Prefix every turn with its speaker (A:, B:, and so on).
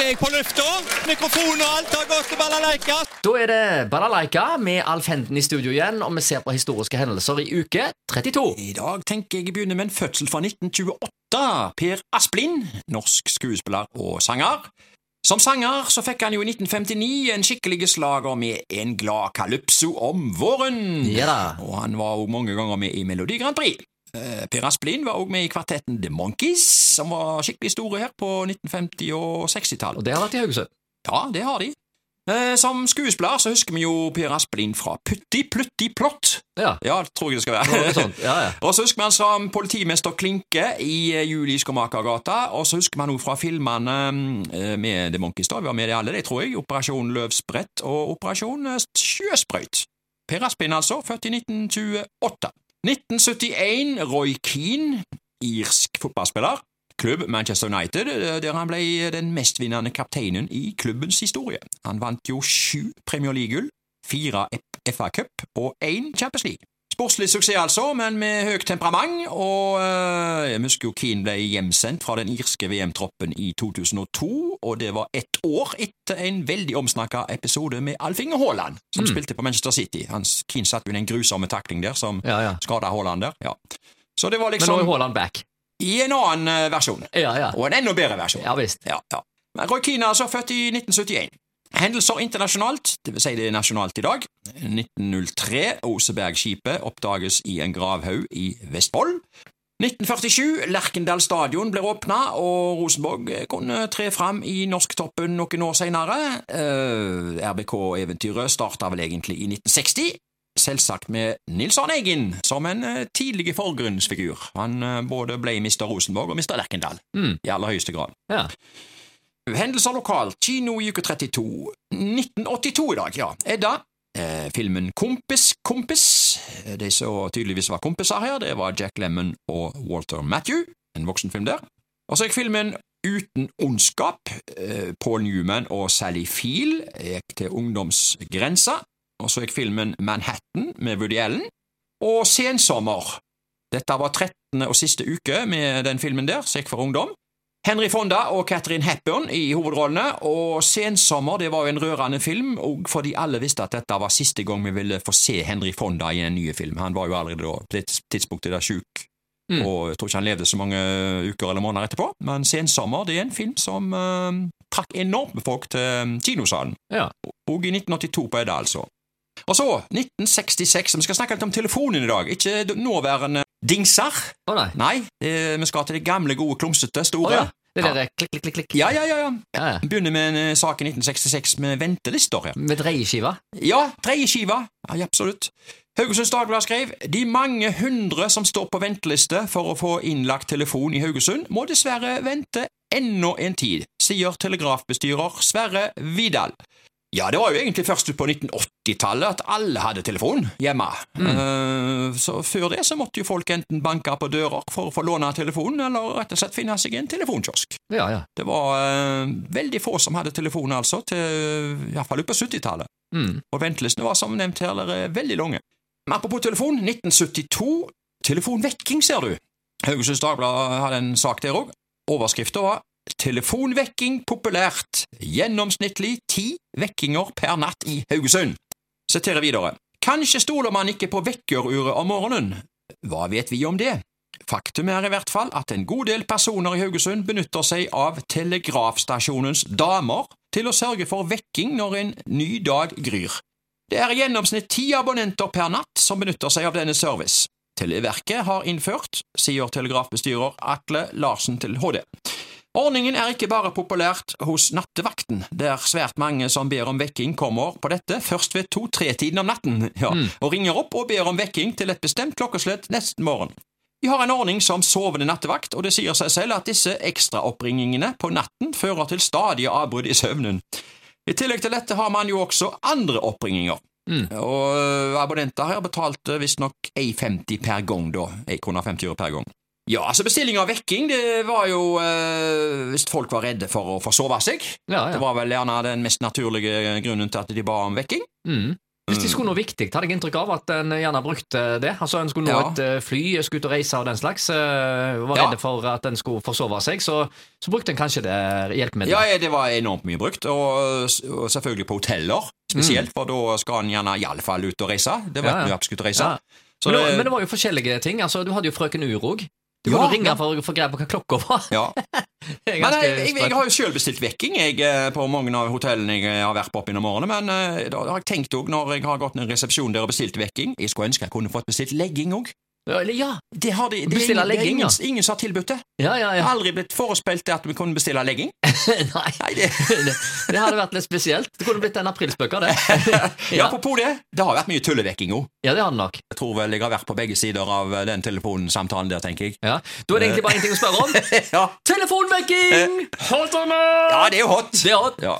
A: er jeg på lufta. Mikrofon og alt har gått til balalaika.
B: Da er det Balalaika med Alf Henden i studio igjen, og vi ser på historiske hendelser i uke 32.
A: I dag tenker jeg å begynne med en fødsel fra 1928. Per Asplin, norsk skuespiller og sanger. Som sanger så fikk han jo i 1959 en skikkelig slager med En glad calypso om våren.
B: Ja da.
A: Og han var også mange ganger med i Melodi Grand Prix. Eh, Per Asplin var også med i kvartetten The Monkees, som var skikkelig store her på 1950- og 60-tallet.
B: Og det har vært i Haugesund.
A: Ja, det har de. Eh, Som skuespiller så husker vi jo Per Asplin fra Putti Plutti Plott.
B: Ja.
A: Ja, det tror jeg det skal
B: Det sånn? var
A: være.
B: noe sånt. Ja, ja.
A: Og så husker vi han som politimester Klinke i eh, Juli Skomakergata. Og så husker vi han også fra filmene eh, med The Monkeys. da. Vi var med i alle de, tror jeg. Operasjon Løvsbrett og Operasjon eh, Sjøsprøyt. Per Aspin, altså. Født i 1928. 1971, Roy Keane, irsk fotballspiller. Klubb Manchester United, eh, der han ble den mestvinnende kapteinen i klubbens historie. Han vant jo sju Premier League-gull, fire FA-cup og én Champions League. Sportslig suksess, altså, men med høyt temperament. Og eh, jeg husker jo Keane ble hjemsendt fra den irske VM-troppen i 2002, og det var ett år etter en veldig omsnakka episode med Alf Inge Haaland, som
B: Mm.
A: spilte på Manchester City. Hans Keane satt jo inn en grusom takling der som
B: Ja, ja.
A: skada Haaland der. Ja. Så det var
B: Men nå er
A: liksom
B: Haaland back.
A: i en annen eh, versjon,
B: Ja, ja.
A: og en enda bedre versjon.
B: Ja visst.
A: Ja, ja. Men Roy Keane er altså født i 1971. Hendelser internasjonalt, det vil si det er nasjonalt i dag. 1903, Osebergskipet oppdages i en gravhaug i Vestfold. 1947, Lerkendal stadion blir åpna, og Rosenborg kunne tre fram i norsktoppen noen år senere. Eh, RBK-eventyret starta vel egentlig i 1960, selvsagt med Nils Arne Eggen som en eh, tidlig forgrunnsfigur. Han eh, både ble Mr. Rosenborg og Mr. Lerkendal,
B: Mm.
A: i aller høyeste grad.
B: Ja.
A: Hendelser lokalt, kino i uke 32. 1982 i dag, ja. Edda. Eh, filmen Kompis, kompis. Eh, De som tydeligvis var kompiser her, det var Jack Lemmon og Walter Matthew. En voksenfilm der. Og så gikk filmen Uten ondskap. Eh, Paul Newman og Sally Field gikk til ungdomsgrensa. Og så gikk filmen Manhattan med Woody Allen. Og Sensommer. Dette var 13. og siste uke med den filmen der, som gikk for ungdom. Henry Fonda og Catherine Hepburn i hovedrollene, og Sensommer det var jo en rørende film, og fordi alle visste at dette var siste gang vi ville få se Henry Fonda i en ny film. Han var jo allerede da, på det tids- tidspunktet der sjuk,
B: Mm.
A: og jeg tror ikke han levde så mange uker eller måneder etterpå, men Sensommer det er en film som eh, trakk enormt med folk til eh, kinosalen,
B: Ja.
A: og i 1982 på Edda, altså. Og så, 1966, vi skal snakke litt om telefonen i dag, ikke d- nåværende dingser.
B: Å nei.
A: Nei, eh, vi skal til det gamle, gode, klumsete,
B: Å
A: store.
B: ja. Det derre klikk, klikk, klikk. klikk.
A: Ja, ja, ja, ja.
B: Ja, ja.
A: Vi Begynner med en eh, sak i 1966 med ventelister her.
B: Med dreieskive.
A: Ja, dreieskiva. Ja, absolutt. Haugesunds Dagblad skrev de mange hundre som står på venteliste for å få innlagt telefon i Haugesund, må dessverre vente ennå en tid, sier telegrafbestyrer Sverre Vidal. Ja, det var jo egentlig først ut på 1980-tallet at alle hadde telefon hjemme. Eh, så før det så måtte jo folk enten banke på dører for å få låne telefonen, eller rett og slett finne seg en telefonkiosk.
B: Ja, ja.
A: Det var eh, veldig få som hadde telefon, altså, til, i hvert fall ut på 70-tallet.
B: Mm.
A: Og ventelistene var, som nevnt her, eh, veldig lange. Men apropos telefon, 1972. Telefonvekking, ser du. Haugesunds Dagblad hadde en sak der òg. Overskriften var 'Telefonvekking populært'. Gjennomsnittlig ti vekkinger per natt i Haugesund. Siterer videre. Kanskje stoler man ikke på vekkeruret om morgenen. Hva vet vi om det? Faktum er i hvert fall at en god del personer i Haugesund benytter seg av telegrafstasjonens damer til å sørge for vekking når en ny dag gryr. Det er i gjennomsnitt ti abonnenter per natt som benytter seg av denne service. Televerket har innført, sier telegrafbestyrer Atle Larsen til HD. Ordningen er ikke bare populært hos nattevakten, der svært mange som ber om vekking, kommer på dette først ved to-tre-tiden om natten, ja, og ringer opp og ber om vekking til et bestemt klokkeslett nesten morgen. Vi har en ordning som sovende nattevakt, og det sier seg selv at disse ekstraoppringingene på natten fører til stadige avbrudd i søvnen. I tillegg til dette har man jo også andre oppringinger.
B: Mm.
A: Og ø, abonnenter her betalte visstnok 1,50 per gang, da. 1 kroner 50 øre per gang. Ja, altså bestilling av vekking, det var jo ø, hvis folk var redde for å forsove seg.
B: Ja,
A: Det
B: ja.
A: var vel gjerne den mest naturlige grunnen til at de ba om vekking.
B: Mm. Hvis de skulle noe viktig, hadde jeg inntrykk av at en gjerne brukte det. Altså En skulle nå
A: Ja.
B: et eh, fly, skulle ut og reise og den slags. eh, Var
A: Ja.
B: redde for at en skulle forsove seg, så, så brukte en kanskje det
A: Ja,
B: hjelpemiddelet.
A: ja, det var enormt mye brukt, og, og selvfølgelig på hoteller spesielt, for da skal en gjerne iallfall ut og reise. Det vet
B: Mm. Ja, ja.
A: vi at skulle reise.
B: Ja. men,
A: Så
B: det,
A: det-
B: var- men det var jo forskjellige ting. Altså Du hadde jo Frøken Uro òg. Du
A: Ja,
B: kunne ringe
A: ja.
B: for å få greie på hva klokka var.
A: ja.
B: Det er
A: Men
B: ganske
A: jeg, jeg, jeg
B: sprøtt.
A: har jo selv bestilt vekking jeg, eh, på mange av hotellene jeg eh, har vært på opp gjennom årene, men eh, da har jeg tenkt òg, når jeg har gått ned i resepsjonen der og bestilt vekking Jeg skulle ønske jeg kunne fått bestilt legging òg.
B: Eller, Ja,
A: Det har de, det er
B: Bestille
A: ingen, det er
B: legging,
A: ingen,
B: ja.
A: ingen som har tilbudt det.
B: ja, ja.
A: Jeg
B: ja.
A: har aldri blitt forespeilt det at vi kunne bestille legging.
B: Nei,
A: Nei, det,
B: det, det hadde vært litt spesielt. Det kunne blitt en aprilspøk av det.
A: ja,
B: Ja,
A: apropos det, det har vært mye tullevekking òg.
B: ja, det hadde nok.
A: Jeg tror vel jeg har vært på begge sider av eh, den telefonsamtalen der, tenker jeg.
B: Ja. Da er det egentlig bare én ting å spørre om.
A: Ja,
B: Telefonvekking! Hotene!
A: Eh. ja det er jo hot.
B: Det er hot.
A: Ja.